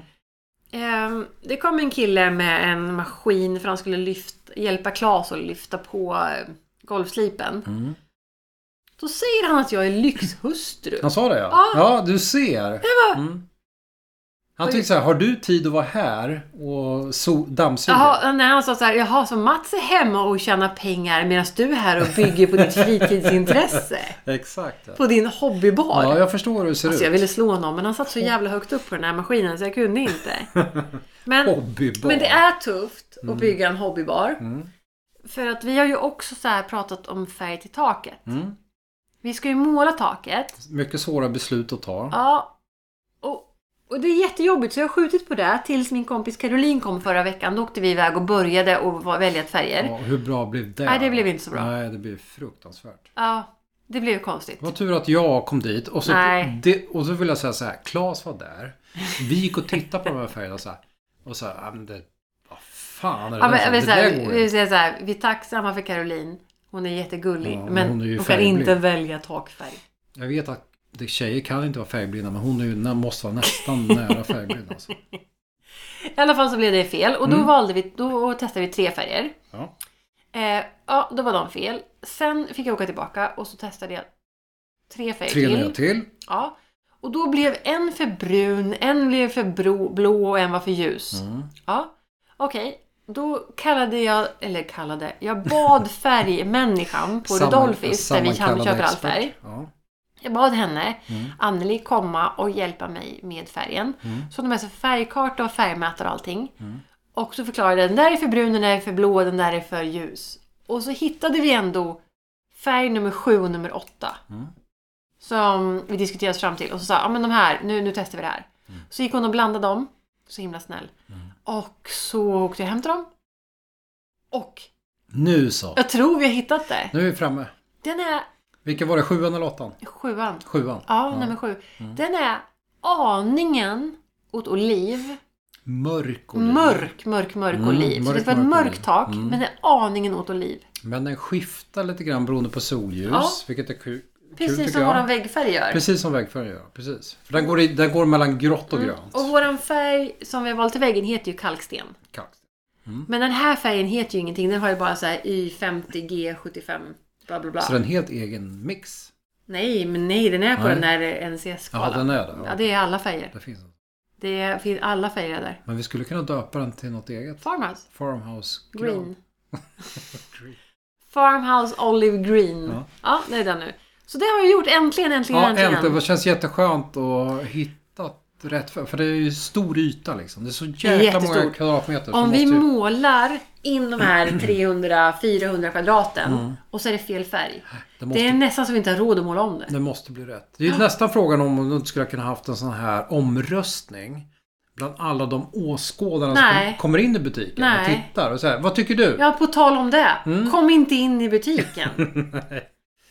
Speaker 2: Ehm, det kom en kille med en maskin för han skulle lyft, hjälpa Claes att lyfta på eh, golvslipen.
Speaker 1: Mm.
Speaker 2: Då säger han att jag är lyxhustru.
Speaker 1: Han sa det ja. Ja, du ser. Mm. Han
Speaker 2: Oj.
Speaker 1: tyckte så här, har du tid att vara här och so- dammsuga?
Speaker 2: Jaha, nej, han sa så här, jaha, så Mats är hemma och tjänar pengar medan du är här och bygger på ditt fritidsintresse?
Speaker 1: Exakt. Ja.
Speaker 2: På din hobbybar?
Speaker 1: ja, jag förstår hur det ser
Speaker 2: Alltså jag
Speaker 1: ut.
Speaker 2: ville slå honom men han satt så jävla högt upp på den här maskinen så jag kunde inte. Men,
Speaker 1: Hobbybar. Mm.
Speaker 2: men det är tufft att bygga en hobbybar. För att vi har ju också så här pratat om färg till taket.
Speaker 1: Mm.
Speaker 2: Vi ska ju måla taket.
Speaker 1: Mycket svåra beslut att ta.
Speaker 2: Ja. Och, och det är jättejobbigt så jag har skjutit på det tills min kompis Caroline kom förra veckan. Då åkte vi iväg och började och var- välja färger.
Speaker 1: Ja,
Speaker 2: Ja.
Speaker 1: hur bra blev det?
Speaker 2: Nej, det blev inte så bra.
Speaker 1: Nej, det blev fruktansvärt.
Speaker 2: det blev ju konstigt.
Speaker 1: Det var tur att jag kom dit och så,
Speaker 2: Nej.
Speaker 1: det, och så vill jag säga så här, Claes var där. Vi gick och tittade på de här färgerna så här, och så här, ja, men det, vad fan är det
Speaker 2: Ja,
Speaker 1: där
Speaker 2: men,
Speaker 1: för-
Speaker 2: men, så
Speaker 1: det
Speaker 2: här,
Speaker 1: där
Speaker 2: vi,
Speaker 1: går
Speaker 2: vi
Speaker 1: inte.
Speaker 2: säger så här, vi är tacksamma för Caroline. Hon är jättegullig.
Speaker 1: Ja, men
Speaker 2: men
Speaker 1: hon är ju
Speaker 2: hon kan
Speaker 1: färgblind.
Speaker 2: inte välja takfärg.
Speaker 1: Jag vet att det, tjejer kan inte vara färgblinda, men hon är ju, nä- måste vara nästan nära färgblind alltså.
Speaker 2: I alla fall så blev det fel och då
Speaker 1: Mm.
Speaker 2: valde vi, då testade vi tre färger.
Speaker 1: Ja.
Speaker 2: Eh, ja, då var de fel. Sen fick jag åka tillbaka och så testade jag tre färger
Speaker 1: Tre nya
Speaker 2: till.
Speaker 1: till.
Speaker 2: Ja. Och då blev en för brun, en blev för bro, blå och en var för ljus.
Speaker 1: Mm.
Speaker 2: Ja, okej. Då kallade jag, eller kallade, jag bad färgmänniskan på Rudolfis där vi kan-
Speaker 1: sammankallade
Speaker 2: köper all
Speaker 1: expert.
Speaker 2: färg.
Speaker 1: Ja.
Speaker 2: Jag bad henne, Anneli, komma och hjälpa mig med färgen. Så de med sig färgkarta och färgmätare och allting. Och så förklarade jag, den där är för brun, den där är för blå, den där är för ljus. Och så hittade vi ändå färg nummer sju och nummer åtta. Som vi diskuterade oss fram till. Och så sa jag, ja men de här, nu, nu testar vi det här. Så gick hon och blandade dem. Så himla snäll. Och så åkte jag hem till dem. Och
Speaker 1: Nu så.
Speaker 2: jag tror vi har hittat det.
Speaker 1: Nu är vi framme.
Speaker 2: Den är
Speaker 1: Vilken var det? Sjuan eller åttan?
Speaker 2: sjuan.
Speaker 1: Sjuan.
Speaker 2: Ja, nummer sju.
Speaker 1: Mm.
Speaker 2: Den är aningen åt oliv.
Speaker 1: Mörk oliv.
Speaker 2: Mörk, mörk, mörk
Speaker 1: Mm,
Speaker 2: oliv. Så
Speaker 1: mörk,
Speaker 2: det var ett
Speaker 1: mörk
Speaker 2: mörkt
Speaker 1: oliv.
Speaker 2: tak,
Speaker 1: Mm.
Speaker 2: men det är aningen åt oliv.
Speaker 1: Men den skiftar lite grann beroende på solljus.
Speaker 2: Ja.
Speaker 1: Vilket är kul. kul,
Speaker 2: Precis
Speaker 1: tycker
Speaker 2: som
Speaker 1: jag.
Speaker 2: våran väggfärg gör.
Speaker 1: Precis som vägfärgen gör. Precis. För den går, i, den går mellan grått och grönt.
Speaker 2: Mm. Och våran färg som vi har valt till väggen heter ju kalksten.
Speaker 1: Kallt. Mm.
Speaker 2: Men den här färgen heter ju ingenting. Den har ju bara så här Y50G75 bla bla bla.
Speaker 1: Så det är en helt egen mix.
Speaker 2: Nej, men nej, den är på
Speaker 1: Nej.
Speaker 2: den där
Speaker 1: Ja,
Speaker 2: NCS-skalan.
Speaker 1: den är det.
Speaker 2: Ja,
Speaker 1: Ja,
Speaker 2: det är alla färger.
Speaker 1: det finns. den.
Speaker 2: Det är- finns alla färger där.
Speaker 1: Men vi skulle kunna döpa den till något eget.
Speaker 2: Farmhouse
Speaker 1: Farmhouse
Speaker 2: Green.
Speaker 1: Green.
Speaker 2: Farmhouse Olive Green.
Speaker 1: Ja.
Speaker 2: Ja. det är den nu. Så det har jag gjort. Äntligen, äntligen,
Speaker 1: Ja,
Speaker 2: äntligen.
Speaker 1: äntligen. Det känns jätteskönt att hitta rätt. För, för det är ju stor yta liksom. Det är så
Speaker 2: är
Speaker 1: jäkla många
Speaker 2: jättestor.
Speaker 1: kvadratmeter. så Mm.
Speaker 2: Om vi
Speaker 1: måste ju-
Speaker 2: målar in de här 300-400 kvadraten och så är det fel färg.
Speaker 1: det, Mm. måste,
Speaker 2: Det är nästan så vi inte har råd att måla om det.
Speaker 1: det måste bli rätt. Det är ju nästan frågan om du inte skulle kunna haft en sån här omröstning. Bland alla de åskådarna som
Speaker 2: Nej.
Speaker 1: kom- kommer in i butiken och
Speaker 2: Nej.
Speaker 1: tittar. Och så här, vad tycker du?
Speaker 2: Ja, på tal om det.
Speaker 1: Mm.
Speaker 2: Kom inte in i butiken.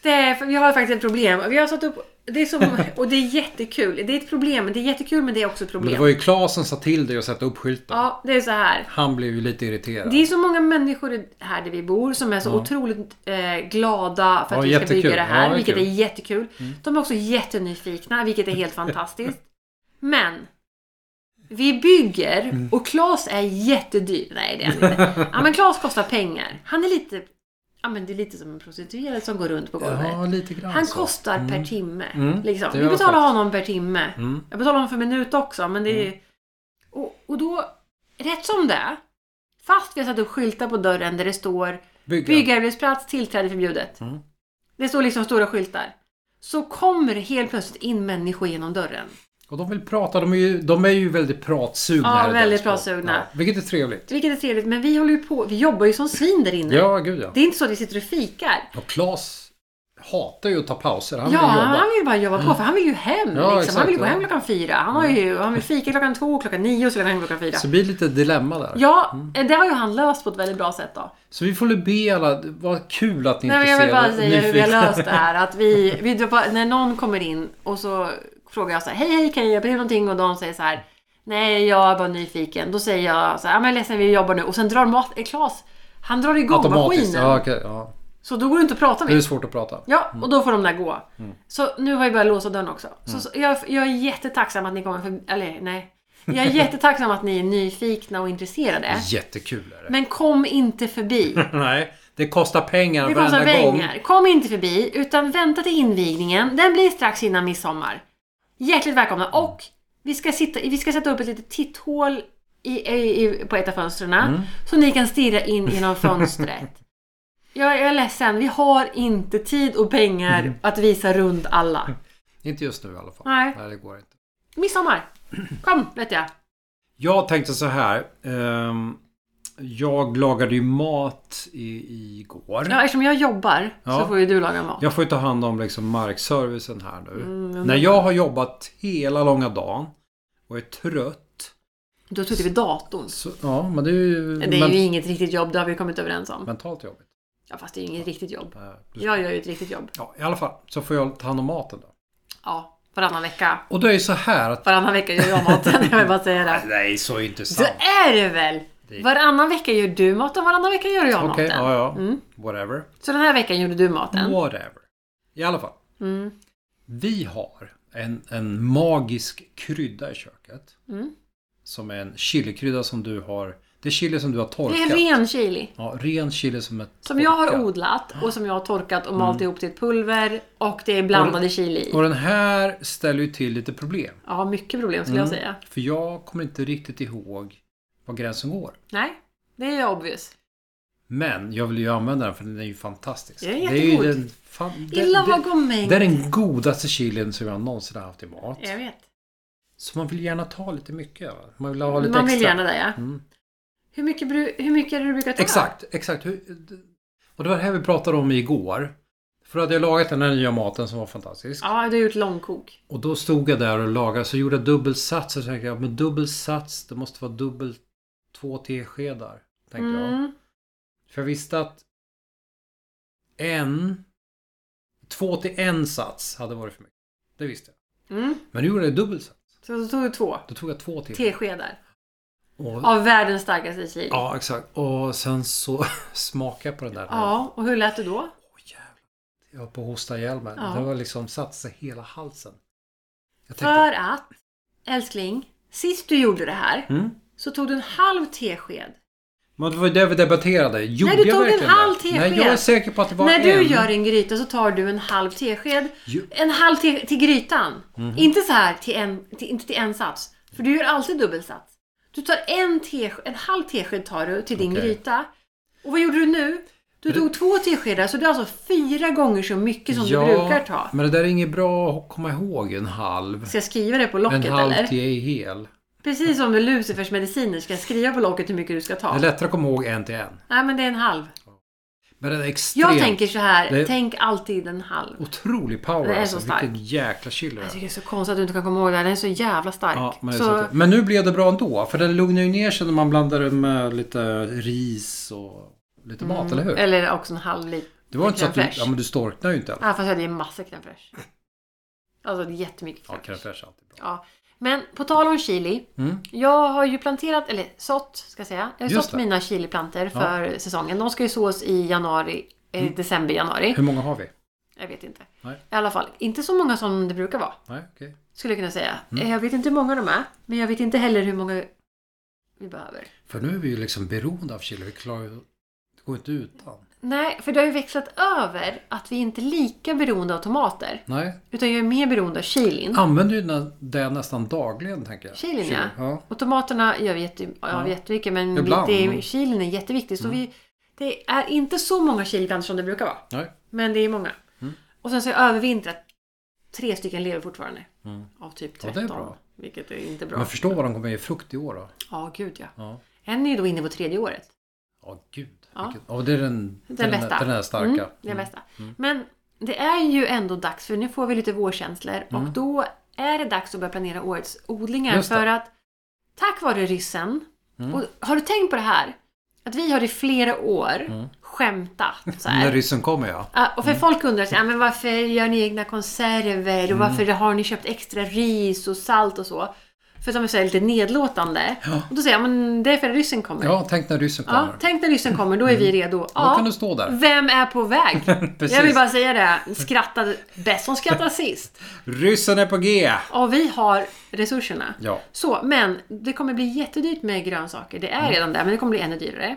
Speaker 2: det är, för vi har faktiskt ett problem. Vi har satt upp... Det är som, och det är jättekul. Det är ett problem. men Det är jättekul men det är också ett
Speaker 1: Men det
Speaker 2: problem.
Speaker 1: var ju Claes som sa till dig att sätta upp skylten.
Speaker 2: Ja, det är så här.
Speaker 1: Han blev ju lite irriterad.
Speaker 2: Det är så många människor i- här där vi bor som är så otroligt eh, glada för
Speaker 1: Ja,
Speaker 2: att vi
Speaker 1: jättekul.
Speaker 2: ska bygga det här,
Speaker 1: Ja, det är
Speaker 2: vilket
Speaker 1: kul. Mm.
Speaker 2: är jättekul. De är också jättenyfikna, vilket är helt fantastiskt. Men vi
Speaker 1: Mm.
Speaker 2: bygger och Claes är jättedyr. Nej, det är han inte. Ja, men Claes kostar pengar. Han är lite... Ja, men det är lite som en prostituerad som går runt på golvet.
Speaker 1: Ja, lite grann
Speaker 2: Han
Speaker 1: så.
Speaker 2: kostar per timme.
Speaker 1: Alltså. Mm,
Speaker 2: Liksom.
Speaker 1: det
Speaker 2: Vi
Speaker 1: gör han
Speaker 2: betalar
Speaker 1: faktiskt.
Speaker 2: honom per timme.
Speaker 1: Mm.
Speaker 2: Jag betalar honom för minut också, men det är och, och då, rätt som det är, fast vi har satt upp skyltar på dörren där det står
Speaker 1: Bygga.
Speaker 2: byggarbetsplats, tillträde förbjudet.
Speaker 1: Mm.
Speaker 2: Det står liksom stora skyltar. Så kommer det helt plötsligt in människor genom dörren.
Speaker 1: Och de vill prata. De är ju, de är ju väldigt pratsugna.
Speaker 2: Ja,
Speaker 1: här i
Speaker 2: väldigt
Speaker 1: Delsbo.
Speaker 2: pratsugna.
Speaker 1: Ja, vilket är trevligt.
Speaker 2: Vilket är trevligt, men vi håller ju på, vi jobbar ju som svin där inne.
Speaker 1: Ja, gud ja.
Speaker 2: Det är inte så att vi sitter och fikar.
Speaker 1: Och Claes hatar ju att ta pauser. Han
Speaker 2: ja,
Speaker 1: vill jobba. Mm.
Speaker 2: han vill bara jobba på för han vill ju hem.
Speaker 1: Ja,
Speaker 2: liksom.
Speaker 1: exakt,
Speaker 2: han vill ju gå
Speaker 1: ja.
Speaker 2: hem klockan fyra. Han, har ju, han vill fika klockan två, klockan nio och så vill han hem klockan fyra.
Speaker 1: Så det blir lite dilemma där.
Speaker 2: Ja, eh, det har ju han löst på ett väldigt bra sätt då.
Speaker 1: Så vi får väl be alla, vad kul att ni
Speaker 2: Nej, men jag
Speaker 1: inte
Speaker 2: vill bara
Speaker 1: ser
Speaker 2: säga hur vi har
Speaker 1: nyfikna.
Speaker 2: löst det här. Att vi, vi, det var- när någon kommer in och så frågar jag så här, hej hej kan jag hjälpa dig med någonting? Och de säger så här, nej jag är bara nyfiken. Då säger jag så här, "Ja, men jag är ledsen vi jobbar nu. Och sen drar mat, eh, Claes, han drar igång
Speaker 1: Automatiskt.
Speaker 2: maskinen.
Speaker 1: Ja, Mm. okej, ja.
Speaker 2: Så då går det inte att prata
Speaker 1: Det är
Speaker 2: med.
Speaker 1: svårt att prata.
Speaker 2: Ja, och då får de där gå.
Speaker 1: Mm.
Speaker 2: Så nu har jag börjat låsa dörren också. Så, så, jag, jag är jättetacksam att ni kommer för, eller nej. Jag är jättetacksam att ni är nyfikna och intresserade.
Speaker 1: Jättekul är det.
Speaker 2: Men kom inte förbi.
Speaker 1: Nej, det kostar pengar
Speaker 2: Det
Speaker 1: varenda
Speaker 2: kostar
Speaker 1: gång.
Speaker 2: pengar. Kom inte förbi, utan vänta till invigningen. Den blir strax innan midsommar. Hjärtligt välkomna! Och vi ska, sitta, vi ska sätta upp ett litet titthål i, i, i, på ett av fönstren.
Speaker 1: Mm.
Speaker 2: Så ni kan stirra in genom fönstret. jag, jag är ledsen, vi har inte tid och pengar
Speaker 1: Mm.
Speaker 2: att visa runt alla.
Speaker 1: Inte just nu i alla fall.
Speaker 2: Nej.
Speaker 1: Nej, det går inte.
Speaker 2: Midsommar! Kom, vet jag.
Speaker 1: Jag tänkte så här. ehm, jag lagade ju mat i, igår.
Speaker 2: Ja, eftersom jag jobbar
Speaker 1: Ja.
Speaker 2: så får ju du laga mat.
Speaker 1: Jag får ju ta hand om liksom markservicen här nu.
Speaker 2: Mm,
Speaker 1: När jag har jobbat hela långa dagen och är trött.
Speaker 2: Du har suttit vid datorn.
Speaker 1: Så, ja, men det är ju,
Speaker 2: Det är
Speaker 1: men,
Speaker 2: ju inget riktigt jobb, det har vi kommit överens om.
Speaker 1: mentalt jobbigt.
Speaker 2: Ja, fast det är ju inget riktigt jobb.
Speaker 1: Eh, du-
Speaker 2: Jag gör ju ett riktigt jobb.
Speaker 1: Ja, I alla fall så får jag ta hand om maten då.
Speaker 2: Ja, varannan vecka.
Speaker 1: Och det är ju så här att...
Speaker 2: Varannan vecka gör jag maten, jag vill bara säga det.
Speaker 1: Nej, så
Speaker 2: Så
Speaker 1: intressant.
Speaker 2: är det väl!
Speaker 1: Det-
Speaker 2: Varannan vecka gör du maten, varannan vecka gör jag
Speaker 1: Okej,
Speaker 2: maten.
Speaker 1: ja, ja. Whatever.
Speaker 2: Så den här veckan gjorde du maten. Mm.
Speaker 1: Whatever. I alla fall. Vi har en, en
Speaker 2: Mm.
Speaker 1: magisk krydda i köket. Som är en chilikrydda som du har Det är chili som du har
Speaker 2: Det
Speaker 1: torkat.
Speaker 2: är ren chili.
Speaker 1: Ja, ren chili som är
Speaker 2: Som jag har
Speaker 1: torkad.
Speaker 2: odlat och som jag har torkat och
Speaker 1: Mm.
Speaker 2: malt ihop till ett pulver. Och det är blandade chili i.
Speaker 1: Och den här ställer ju till lite problem. Mm.
Speaker 2: Ja, mycket problem skulle jag säga.
Speaker 1: För jag kommer inte riktigt ihåg var gränsen går.
Speaker 2: Nej, det är ju obvious.
Speaker 1: Men jag vill ju använda den för den är ju fantastisk.
Speaker 2: Den är
Speaker 1: ju
Speaker 2: jättegod.
Speaker 1: den, fan,
Speaker 2: I lagom mängd.
Speaker 1: det är den godaste chilin som jag någonsin har haft i mat.
Speaker 2: Jag vet.
Speaker 1: Så man vill gärna ta lite mycket. va? Man vill ha lite
Speaker 2: Man
Speaker 1: extra.
Speaker 2: vill gärna det ja.
Speaker 1: Mm.
Speaker 2: Hur, mycket, bru- hur mycket är det du brukar ta?
Speaker 1: Exakt, exakt. Hur- Och det var det här vi pratade om igår. För då hade jag lagat den här nya maten som var fantastisk.
Speaker 2: Ja, du har gjort långkok.
Speaker 1: Och då stod jag där och lagade, så gjorde jag dubbel sats. Och så tänkte jag, men dubbel sats, det måste vara dubbel två teskedar. Tänkte jag.
Speaker 2: Mm.
Speaker 1: För jag visste att en, två till en sats hade varit för mycket. Det visste jag.
Speaker 2: Mm.
Speaker 1: Men nu gjorde jag dubbel sats.
Speaker 2: Så då tog du två
Speaker 1: Då tog jag två till.
Speaker 2: teskedar
Speaker 1: Och,
Speaker 2: av världens starkaste chili. Ja.
Speaker 1: ja, exakt. Och sen så smakade jag på den där.
Speaker 2: och hur lät det då?
Speaker 1: Åh, jävlar. Jag höll på att hosta ihjäl mig.
Speaker 2: Ja.
Speaker 1: Det var liksom satt sig hela halsen. Jag tänkte,
Speaker 2: För att, älskling, sist du gjorde det här
Speaker 1: Mm.
Speaker 2: så tog du en halv tesked.
Speaker 1: men det var ju det vi debatterade. Gjorde
Speaker 2: Nej, du
Speaker 1: jag
Speaker 2: tog en
Speaker 1: verkligen
Speaker 2: halv
Speaker 1: det?
Speaker 2: tesked.
Speaker 1: Nej, jag är säker på att det var
Speaker 2: När
Speaker 1: en.
Speaker 2: du gör en gryta så tar du en halv tesked.
Speaker 1: Ju-
Speaker 2: En halv te- till grytan.
Speaker 1: Mhm.
Speaker 2: Inte så här till en, till, inte till en sats. För du gör alltid dubbelsats. Du tar en, tesk- en halv tesked tar du till din
Speaker 1: Okej.
Speaker 2: gryta. Och vad gjorde du nu? Du tog två teskedar, så det är alltså fyra gånger så mycket som du brukar ta.
Speaker 1: men det där är inget bra att komma ihåg. En halv.
Speaker 2: Ska jag skriva det på locket
Speaker 1: En halv
Speaker 2: eller?
Speaker 1: till är hel.
Speaker 2: Precis som med Lucifers mediciner, ska jag skriva på locket hur mycket du ska ta?
Speaker 1: Det är lättare att komma ihåg en till en.
Speaker 2: Nej, men det är en halv.
Speaker 1: Men den är extremt
Speaker 2: Jag tänker så här,
Speaker 1: Det-
Speaker 2: tänk alltid en halv.
Speaker 1: otrolig power.
Speaker 2: Den är
Speaker 1: alltså.
Speaker 2: så stark.
Speaker 1: Vilken jäkla chili det
Speaker 2: Jag
Speaker 1: är.
Speaker 2: tycker det är så konstigt att du inte kan komma ihåg det här. Den är så jävla stark.
Speaker 1: Ja, men, det är så
Speaker 2: så,
Speaker 1: att- men nu blev det bra ändå. För den lugnar ju ner sig när man blandar den med lite ris och lite
Speaker 2: Mm.
Speaker 1: mat, eller hur?
Speaker 2: eller också en halv liter.
Speaker 1: Det var inte så att du,
Speaker 2: crème fraîche.
Speaker 1: ja, men du storknar ju inte heller.
Speaker 2: Ja, fast jag hade ju massa crème fraîche. Alltså det är jättemycket
Speaker 1: Ja,
Speaker 2: crème
Speaker 1: crème
Speaker 2: fraîche.
Speaker 1: fraîche är alltid bra.
Speaker 2: Ja. Men på tal om chili.
Speaker 1: Mm.
Speaker 2: Jag har ju planterat, eller sått ska jag säga. Jag har
Speaker 1: Just
Speaker 2: sått
Speaker 1: det.
Speaker 2: mina chiliplantor för säsongen. De ska ju sås i januari, eh,
Speaker 1: Mm.
Speaker 2: december, januari.
Speaker 1: Hur många har vi?
Speaker 2: Jag vet inte.
Speaker 1: Nej.
Speaker 2: I alla fall, inte så många som det brukar vara.
Speaker 1: Nej, okej.
Speaker 2: Skulle jag kunna säga.
Speaker 1: Mm.
Speaker 2: Eh, Jag vet inte hur många de är. Men jag vet inte heller hur många vi behöver.
Speaker 1: För nu är vi ju liksom beroende av chili. Vi klarar ju... Det går inte utan.
Speaker 2: Nej, för det har ju växlat över att vi inte är lika beroende av tomater.
Speaker 1: Nej.
Speaker 2: Utan jag är mer beroende av chilin.
Speaker 1: Mm. Använder ju nä- det nästan dagligen, tänker jag.
Speaker 2: Chilin, ja.
Speaker 1: ja.
Speaker 2: Och tomaterna gör vi jätte, ja. jättemycket, men
Speaker 1: Ibland,
Speaker 2: det är,
Speaker 1: mm.
Speaker 2: chilin är jätteviktig. Så vi, det är inte så många chiliplantor som det brukar vara,
Speaker 1: Nej.
Speaker 2: men det är många.
Speaker 1: Mm.
Speaker 2: Och sen så har jag övervintrat. Tre stycken lever fortfarande. Av typ
Speaker 1: Mm. Ja,
Speaker 2: 13.
Speaker 1: det är bra.
Speaker 2: Vilket är inte bra.
Speaker 1: Men förstå vad de kommer ge frukt i år då.
Speaker 2: Ja, gud ja.
Speaker 1: Ja.
Speaker 2: En är ju då inne på tredje året.
Speaker 1: Ja, gud.
Speaker 2: Ja.
Speaker 1: Vilket... ja det är den,
Speaker 2: Den,
Speaker 1: det är Den,
Speaker 2: bästa.
Speaker 1: det är den här starka.
Speaker 2: Mm, den bästa. Men det är ju ändå dags, för nu får vi lite vårkänslor. Och då är det dags att börja planera årets odlingar.
Speaker 1: Mm. Just det. Mm.
Speaker 2: För att tack vare ryssen, och har du tänkt på det här? Att vi har i flera år skämtat så
Speaker 1: Mm. När Mm.
Speaker 2: här.
Speaker 1: ryssen kommer, ja.
Speaker 2: Ja, och för folk undrar sig, ja, men varför gör ni egna konserver
Speaker 1: Mm.
Speaker 2: och varför har ni köpt extra ris och salt och så? För som jag säger, lite nedlåtande. Och då säger jag, men det är för att ryssen kommer.
Speaker 1: Ja, tänk när ryssen
Speaker 2: Ja,
Speaker 1: kommer.
Speaker 2: tänk när ryssen kommer, då är vi redo.
Speaker 1: Mm. Då
Speaker 2: Ja.
Speaker 1: kan du stå där.
Speaker 2: Vem är på väg?
Speaker 1: Precis.
Speaker 2: Jag vill bara säga det. Skratta bäst som skrattar sist.
Speaker 1: Ryssen är på G!
Speaker 2: Och vi har resurserna.
Speaker 1: Ja.
Speaker 2: Så, men det kommer bli jättedyrt med grönsaker. Det är
Speaker 1: Mm.
Speaker 2: redan där, men det kommer bli ännu dyrare.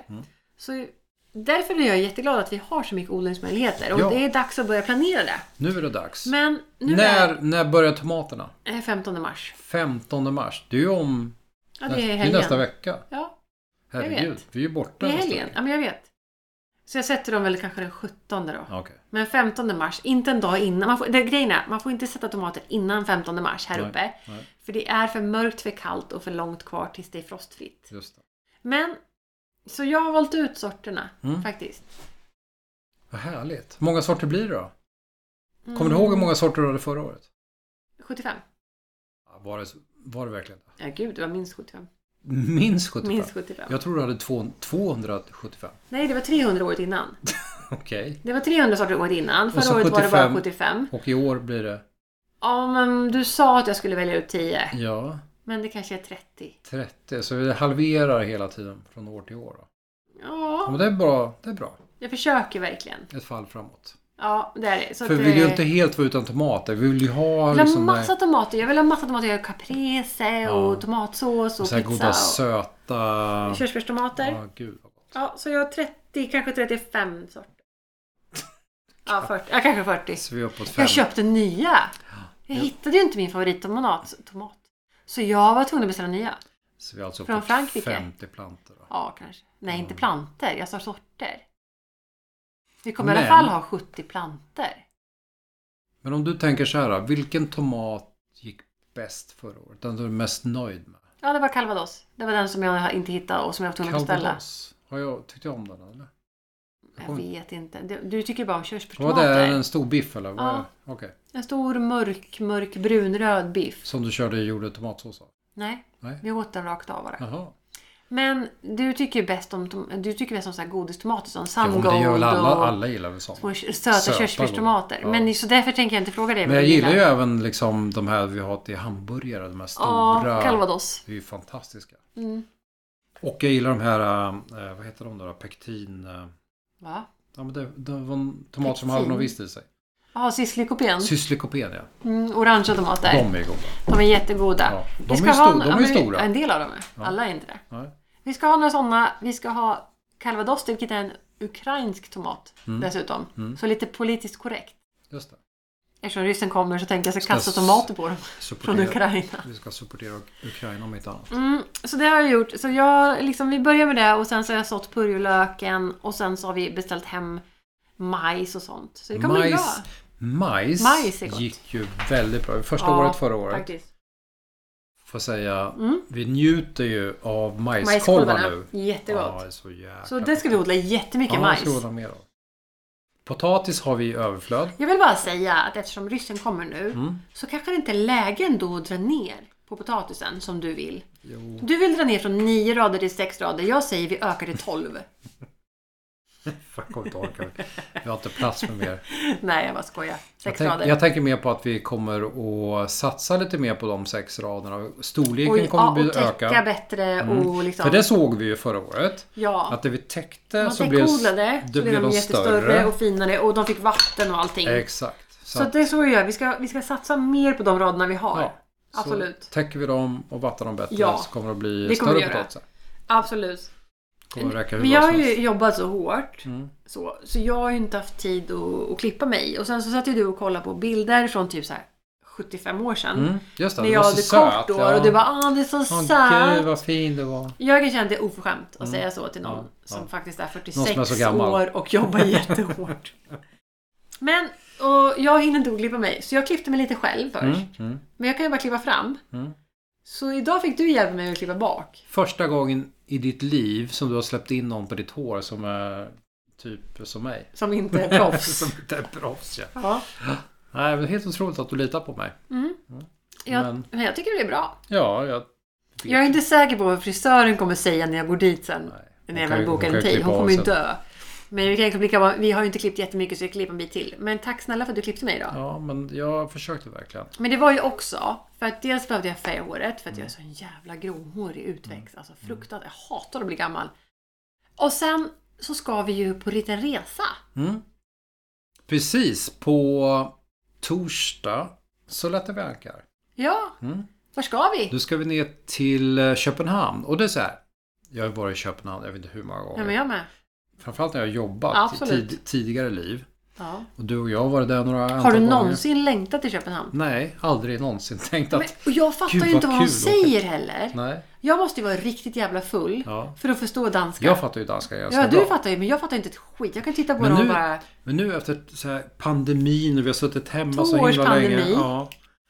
Speaker 2: Så därför är jag jätteglad att vi har så mycket odlingsmöjligheter. Och
Speaker 1: Ja.
Speaker 2: det är dags att börja planera det.
Speaker 1: Nu är det dags.
Speaker 2: Men nu
Speaker 1: när,
Speaker 2: är
Speaker 1: när börjar tomaterna?
Speaker 2: eh, 15 mars.
Speaker 1: 15 mars. Det är ju om...
Speaker 2: Ja, det är
Speaker 1: det är
Speaker 2: helgen.
Speaker 1: nästa vecka.
Speaker 2: Ja,
Speaker 1: Herregud, vi är ju borta
Speaker 2: det är
Speaker 1: nästa
Speaker 2: helgen.
Speaker 1: vecka.
Speaker 2: Ja, men jag vet. Så jag sätter dem väl kanske den 17 då.
Speaker 1: Ja, okej.
Speaker 2: Men 15 mars, inte en dag innan. Man får, det, grejen är, man får inte sätta tomater innan 15 mars här
Speaker 1: Nej,
Speaker 2: uppe.
Speaker 1: nej.
Speaker 2: För det är för mörkt, för kallt och för långt kvar tills det är frostfritt.
Speaker 1: Just det.
Speaker 2: Men, så jag har valt ut sorterna
Speaker 1: Mm.
Speaker 2: faktiskt.
Speaker 1: Vad härligt. Hur många sorter blir det då? Kommer
Speaker 2: Mm.
Speaker 1: du ihåg hur många sorter du hade förra året?
Speaker 2: 75.
Speaker 1: Ja, Var det, var det verkligen det?
Speaker 2: Ja, gud, det var minst 75.
Speaker 1: Minst 75?
Speaker 2: Minst 75.
Speaker 1: Jag tror du hade två- 275.
Speaker 2: Nej, det var 300 året innan.
Speaker 1: Okej.
Speaker 2: Det var 300 sorter året innan. Förra
Speaker 1: så
Speaker 2: året var det bara
Speaker 1: 75.
Speaker 2: 75.
Speaker 1: Och i år blir det?
Speaker 2: Ja, men du sa att jag skulle välja ut 10.
Speaker 1: Ja,
Speaker 2: Men det kanske är 30.
Speaker 1: 30. Så vi halverar hela tiden från år till år. Då. Ja,
Speaker 2: Ja,
Speaker 1: men det är bra. Det är bra.
Speaker 2: jag försöker verkligen.
Speaker 1: Ett fall framåt.
Speaker 2: Ja, det är det. Så
Speaker 1: För
Speaker 2: att,
Speaker 1: vi vill ju
Speaker 2: eh,
Speaker 1: inte helt vara utan tomater. Vi vill ju ha
Speaker 2: Jag vill ha
Speaker 1: liksom...
Speaker 2: massa tomater. Jag vill ha massa tomater. Jag har caprese och
Speaker 1: Ja.
Speaker 2: tomatsås och
Speaker 1: så här
Speaker 2: pizza.
Speaker 1: goda
Speaker 2: Och
Speaker 1: söta...
Speaker 2: körsbärstomater.
Speaker 1: Ja, gud vad gott.
Speaker 2: Ja, så jag har 30, kanske 35 sorter. Ja, 40, ja kanske 40.
Speaker 1: Så vi är uppåt fem.
Speaker 2: Jag köpte nya. Jag
Speaker 1: Ja.
Speaker 2: hittade ju inte min favorittomat. Tomat. Så jag var tvungen att beställa nya.
Speaker 1: Så vi är alltså
Speaker 2: Från
Speaker 1: uppåt
Speaker 2: Frankrike.
Speaker 1: 50 plantor. Då.
Speaker 2: Ja, kanske. Nej, inte
Speaker 1: Ja.
Speaker 2: planter. Jag sa sorter. Vi kommer i
Speaker 1: Men-
Speaker 2: alla fall ha 70 planter.
Speaker 1: Men om du tänker så här, vilken tomat gick bäst förra året? Den du är mest nöjd med?
Speaker 2: Ja, det var calvados. Det var den som jag inte hittade och som jag var tvungen att beställa.
Speaker 1: Calvados. Har jag, tyckte jag om den eller?
Speaker 2: Jag
Speaker 1: Kommer-
Speaker 2: vet inte. Du, du tycker bara om
Speaker 1: Var det
Speaker 2: körsbärstomater.
Speaker 1: en stor biff eller? Vad-
Speaker 2: Ja.
Speaker 1: Okej.
Speaker 2: En stor mörk, mörk brunröd biff.
Speaker 1: Som du körde och gjorde tomatsås av?
Speaker 2: Nej,
Speaker 1: Nej.
Speaker 2: vi åt den rakt av bara.
Speaker 1: Jaha.
Speaker 2: Men du tycker bäst om, tom- du tycker bäst om så här godistomater som
Speaker 1: Ja, men
Speaker 2: sungold
Speaker 1: det gör väl alla,
Speaker 2: och
Speaker 1: alla gillar väl sånt.
Speaker 2: små kö- söta,
Speaker 1: Söta
Speaker 2: körsbärstomater.
Speaker 1: goda. Ja.
Speaker 2: Men så därför tänker jag inte fråga dig.
Speaker 1: Men jag gillar ju även liksom de här vi har till hamburgare, de här stora.
Speaker 2: Ja, calvados.
Speaker 1: det är ju fantastiska.
Speaker 2: Mm.
Speaker 1: Och jag gillar de här, eh, vad heter de då? Pektin... Eh,
Speaker 2: Va?
Speaker 1: ja, men det, det var en tomat som
Speaker 2: Pektin?
Speaker 1: hade något visst i sig.
Speaker 2: Ja, syslikopen.
Speaker 1: Syslikopen ja.
Speaker 2: Mm, orangea tomater.
Speaker 1: De är goda.
Speaker 2: De är jättegoda.
Speaker 1: Ja, de
Speaker 2: Vi ska
Speaker 1: är
Speaker 2: ha
Speaker 1: stor-
Speaker 2: en-
Speaker 1: de
Speaker 2: ja,
Speaker 1: är
Speaker 2: men vi-
Speaker 1: stora.
Speaker 2: En del av dem är.
Speaker 1: Ja.
Speaker 2: Alla är inte det.
Speaker 1: Nej.
Speaker 2: Vi ska ha några sådana. Vi ska ha calvados, vilket är en ukrainsk tomat
Speaker 1: Mm.
Speaker 2: dessutom.
Speaker 1: Mm.
Speaker 2: Så lite politiskt korrekt.
Speaker 1: Just det.
Speaker 2: Eftersom ryssen kommer så tänkte jag att jag ska kasta
Speaker 1: Ska
Speaker 2: tomater på dem från
Speaker 1: Supportera.
Speaker 2: Ukraina.
Speaker 1: Vi ska supportera Uk- Ukraina om inte annat.
Speaker 2: Mm, så det har jag gjort. Så jag, liksom, vi börjar med det och sen så har jag sått purjolöken och sen så har vi beställt hem majs och sånt. Så det kommer bli bra.
Speaker 1: Majs, majs,
Speaker 2: Majs är gott.
Speaker 1: gick ju väldigt bra. Första
Speaker 2: Ja,
Speaker 1: året förra året.
Speaker 2: Faktiskt.
Speaker 1: Får säga,
Speaker 2: Mm.
Speaker 1: vi njuter ju av majskolvar nu.
Speaker 2: Majskolvarna. Jättegott.
Speaker 1: Ja, det är så jäkla
Speaker 2: så det ska vi odla jättemycket
Speaker 1: ja,
Speaker 2: majs.
Speaker 1: Ja, det ska vi mer av. Potatis har vi i överflöd.
Speaker 2: Jag vill bara säga att eftersom ryssen kommer nu
Speaker 1: Mm.
Speaker 2: så kanske det inte är läge ändå att dra ner på potatisen som du vill.
Speaker 1: Jo,
Speaker 2: Du vill dra ner från 9 rader till 6 rader. Jag säger vi ökar till 12.
Speaker 1: fuck jag inte orkar. Vi har inte plats för mer.
Speaker 2: Nej, jag bara skojar. 6
Speaker 1: Jag, tänk,
Speaker 2: rader.
Speaker 1: jag tänker mer på att vi kommer att satsa lite mer på de sex raderna. Storleken
Speaker 2: och,
Speaker 1: kommer
Speaker 2: ja,
Speaker 1: att
Speaker 2: och
Speaker 1: bli-
Speaker 2: täcka
Speaker 1: öka.
Speaker 2: bättre
Speaker 1: Mm.
Speaker 2: och liksom...
Speaker 1: För det såg vi ju förra året.
Speaker 2: ja.
Speaker 1: Att det vi täckte
Speaker 2: man
Speaker 1: så blev,
Speaker 2: täckodlade så
Speaker 1: det
Speaker 2: blev de jättestörre och finare och de fick vatten och allting.
Speaker 1: Exakt.
Speaker 2: så att det är så vi gör. Vi ska, vi ska satsa mer på de raderna vi har.
Speaker 1: ja, så
Speaker 2: Absolut.
Speaker 1: täcker vi dem och vattnar dem bättre
Speaker 2: Ja,
Speaker 1: så kommer det att bli
Speaker 2: det kommer vi
Speaker 1: större
Speaker 2: göra.
Speaker 1: potatisar.
Speaker 2: Absolut.
Speaker 1: Kommer att räcka hur
Speaker 2: Men
Speaker 1: bra
Speaker 2: jag har
Speaker 1: som
Speaker 2: ju
Speaker 1: helst.
Speaker 2: jobbat så hårt.
Speaker 1: Mm.
Speaker 2: Så, så jag har ju inte haft tid att, att klippa mig. Och sen så satt ju du och kollade på bilder från typ så här 75 år sedan.
Speaker 1: Mm, just det,
Speaker 2: När
Speaker 1: det
Speaker 2: jag
Speaker 1: var så
Speaker 2: hade
Speaker 1: söt.
Speaker 2: kort hår och du bara ah det är så
Speaker 1: Åh, gud
Speaker 2: söt.
Speaker 1: vad fin du var.
Speaker 2: Jag kan känna att det är oförskämt att säga så till någon
Speaker 1: Mm. Ja,
Speaker 2: som
Speaker 1: ja.
Speaker 2: faktiskt är
Speaker 1: Någon som är så
Speaker 2: 46
Speaker 1: gammal.
Speaker 2: år och jobbar jättehårt. Men och jag hinner inte klippa mig så jag klippte mig lite själv först.
Speaker 1: Mm, mm,
Speaker 2: Men jag kan ju bara klippa fram.
Speaker 1: mm.
Speaker 2: Så idag fick du hjälpa mig att klippa bak.
Speaker 1: Första gången i ditt liv som du har släppt in någon på ditt hår som är typ som mig.
Speaker 2: Som inte är proffs.
Speaker 1: som inte är proffs ja.
Speaker 2: ja.
Speaker 1: Nej, men det är helt otroligt att du litar på mig.
Speaker 2: Mm. Jag,
Speaker 1: Men-
Speaker 2: men... jag tycker det är bra.
Speaker 1: Ja, jag...
Speaker 2: Jag är inte säker på vad frisören kommer säga när jag går dit sen.
Speaker 1: Hon
Speaker 2: när
Speaker 1: kan
Speaker 2: jag väl
Speaker 1: ju- hon
Speaker 2: bokar
Speaker 1: kan
Speaker 2: en
Speaker 1: ju
Speaker 2: tid.
Speaker 1: klippa
Speaker 2: Hon
Speaker 1: av
Speaker 2: kommer ju
Speaker 1: sen.
Speaker 2: dö. Men vi, kan liksom lika, bra- vi har ju inte klippt jättemycket så jag klipper en bit till. Men tack snälla för att du klippte mig idag.
Speaker 1: Ja, men jag försökte verkligen.
Speaker 2: Men det var ju också för att dels behövde jag färga håret för att jag är så
Speaker 1: Mm.
Speaker 2: en jävla gråhårig utväxt. Alltså fruktansvärt. Jag hatar att bli gammal. Och sen så ska vi ju på en liten resa.
Speaker 1: Mm. Precis, på torsdag så lät det verkar.
Speaker 2: Ja,
Speaker 1: Mm.
Speaker 2: var ska vi?
Speaker 1: Då ska vi ner till eh, Köpenhamn och det är så här. Jag har varit i Köpenhamn, jag vet inte hur många gånger.
Speaker 2: Ja, men jag med.
Speaker 1: Framförallt när jag har jobbat i
Speaker 2: Absolut.
Speaker 1: tid, tidigare liv.
Speaker 2: Ja.
Speaker 1: Och du och jag har varit där några
Speaker 2: Har
Speaker 1: antal
Speaker 2: du
Speaker 1: gånger.
Speaker 2: någonsin längtat till Köpenhamn?
Speaker 1: Nej, aldrig någonsin tänkt
Speaker 2: Men,
Speaker 1: att...
Speaker 2: och jag fattar
Speaker 1: Gud,
Speaker 2: ju inte
Speaker 1: vad
Speaker 2: vad de
Speaker 1: kul att åka.
Speaker 2: säger heller.
Speaker 1: Nej,
Speaker 2: Jag måste ju vara riktigt jävla full
Speaker 1: Ja.
Speaker 2: för att förstå danska.
Speaker 1: jag fattar ju danska ganska
Speaker 2: ja, du
Speaker 1: bra.
Speaker 2: fattar ju, men jag fattar inte ett skit. Jag kan titta på
Speaker 1: Men
Speaker 2: dem och
Speaker 1: nu-
Speaker 2: bara...
Speaker 1: Men nu efter så här, pandemin och vi har suttit hemma så
Speaker 2: Två års
Speaker 1: himla länge.
Speaker 2: pandemi.
Speaker 1: Ja,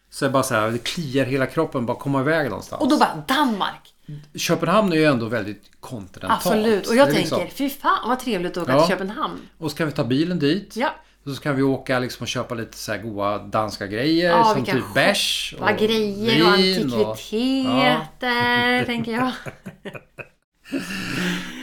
Speaker 1: så är det bara så här, det kliar hela kroppen bara komma iväg någonstans.
Speaker 2: Och då bara Danmark!
Speaker 1: Köpenhamn är ju ändå väldigt kontinentalt.
Speaker 2: Absolut! Och jag
Speaker 1: Det är
Speaker 2: tänker,
Speaker 1: liksom-
Speaker 2: fy fan vad trevligt att åka
Speaker 1: Ja.
Speaker 2: till Köpenhamn.
Speaker 1: Och så kan vi ta bilen dit.
Speaker 2: Ja,
Speaker 1: Och så kan vi åka liksom och köpa lite så här goda danska grejer.
Speaker 2: Ja,
Speaker 1: som
Speaker 2: vi kan
Speaker 1: typ bärs
Speaker 2: vad grejer och antikviteter, tänker jag.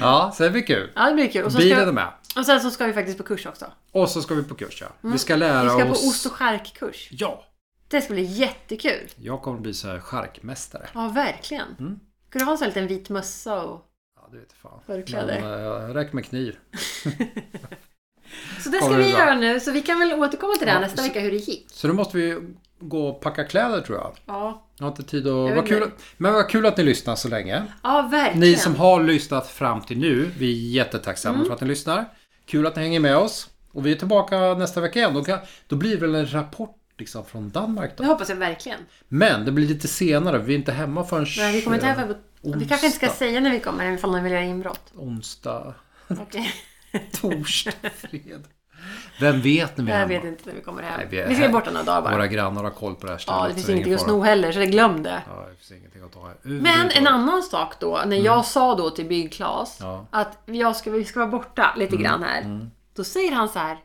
Speaker 1: Ja, så det blir kul.
Speaker 2: Ja, det blir kul. Och, så
Speaker 1: Bilen är
Speaker 2: ska,
Speaker 1: med.
Speaker 2: och sen så ska vi faktiskt på kurs också.
Speaker 1: Och så ska vi på kurs ja. Vi ska lära
Speaker 2: Mm. Vi ska på
Speaker 1: oss...
Speaker 2: ost och charkkurs.
Speaker 1: Ja!
Speaker 2: Det ska bli jättekul.
Speaker 1: Jag kommer bli så här charkmästare.
Speaker 2: Ja, verkligen.
Speaker 1: Mm.
Speaker 2: Ska du ha en sån här liten vit mössa och...
Speaker 1: Ja, det vet fan. eh,
Speaker 2: Förkläder.
Speaker 1: Men, eh, räck med kniv.
Speaker 2: Så det ska
Speaker 1: Kommer
Speaker 2: vi
Speaker 1: det bra?
Speaker 2: göra nu. Så vi kan väl återkomma till det här
Speaker 1: Ja,
Speaker 2: nästa
Speaker 1: så-
Speaker 2: vecka hur det gick.
Speaker 1: Så då måste vi gå och packa kläder tror jag.
Speaker 2: Ja,
Speaker 1: Jag har inte tid att...
Speaker 2: vet
Speaker 1: Vad kul,
Speaker 2: inte.
Speaker 1: att- men vad kul att ni lyssnar så länge.
Speaker 2: ja Mm. verkligen.
Speaker 1: Ni som har lyssnat fram till nu, vi är jättetacksamma för att ni lyssnar. Kul att ni hänger med oss. Och vi är tillbaka nästa vecka igen. Då, kan, då blir det väl en rapport liksom från Danmark då.
Speaker 2: Det hoppas jag verkligen.
Speaker 1: Men det blir lite senare. Vi är inte hemma förrän...
Speaker 2: Nej, vi kommer inte
Speaker 1: eh,
Speaker 2: ihåg vad- Vi kanske inte ska
Speaker 1: onsdag.
Speaker 2: säga när vi kommer ifall någon vill göra inbrott.
Speaker 1: Onsdag,
Speaker 2: Okej.
Speaker 1: torsdag, fredag. Vem vet när vi är
Speaker 2: Jag
Speaker 1: hemma?
Speaker 2: vet inte när vi kommer hem.
Speaker 1: Nej,
Speaker 2: vi,
Speaker 1: vi är
Speaker 2: är ska ju
Speaker 1: här.
Speaker 2: borta några dagar bara.
Speaker 1: Våra grannar har koll på det här stället.
Speaker 2: Ja, det finns
Speaker 1: så är
Speaker 2: ingenting
Speaker 1: ingen
Speaker 2: att
Speaker 1: fara.
Speaker 2: sno heller, så det glöm det.
Speaker 1: Ja, det finns ingenting att ta här.
Speaker 2: Men
Speaker 1: Överhuvudtaget.
Speaker 2: en annan sak då, när jag sa då till Bygg-Klas
Speaker 1: Mm. Ja. Mm.
Speaker 2: att jag ska, vi ska vara borta lite grann här. Då säger han så här.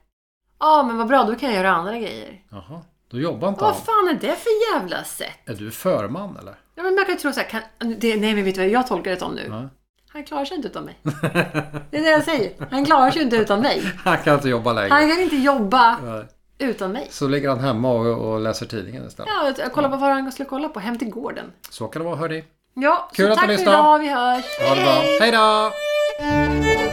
Speaker 2: Ja, men vad bra, då kan jag göra andra grejer.
Speaker 1: Jaha, då jobbar inte han.
Speaker 2: Vad fan är det för jävla sätt?
Speaker 1: Är du förman eller?
Speaker 2: Ja, men man kan ju tro så här, kan, det, nej men vet du vad jag tolkar det som nu?
Speaker 1: Ja.
Speaker 2: Han klarar sig inte utan mig. Det är det jag säger. Han klarar sig inte utan mig.
Speaker 1: Han kan inte jobba längre.
Speaker 2: Han kan inte jobba
Speaker 1: Nej.
Speaker 2: utan mig.
Speaker 1: Så ligger han hemma och, och läser tidningen istället.
Speaker 2: Ja, jag- jag kollar på vad han skulle kolla på. Hem till gården.
Speaker 1: Så kan det vara hörni.
Speaker 2: Ja,
Speaker 1: Kul
Speaker 2: så
Speaker 1: att du
Speaker 2: tack för
Speaker 1: lyssnade.
Speaker 2: idag. Vi hörs.
Speaker 1: Ha det bra. Hej då!
Speaker 2: Hej!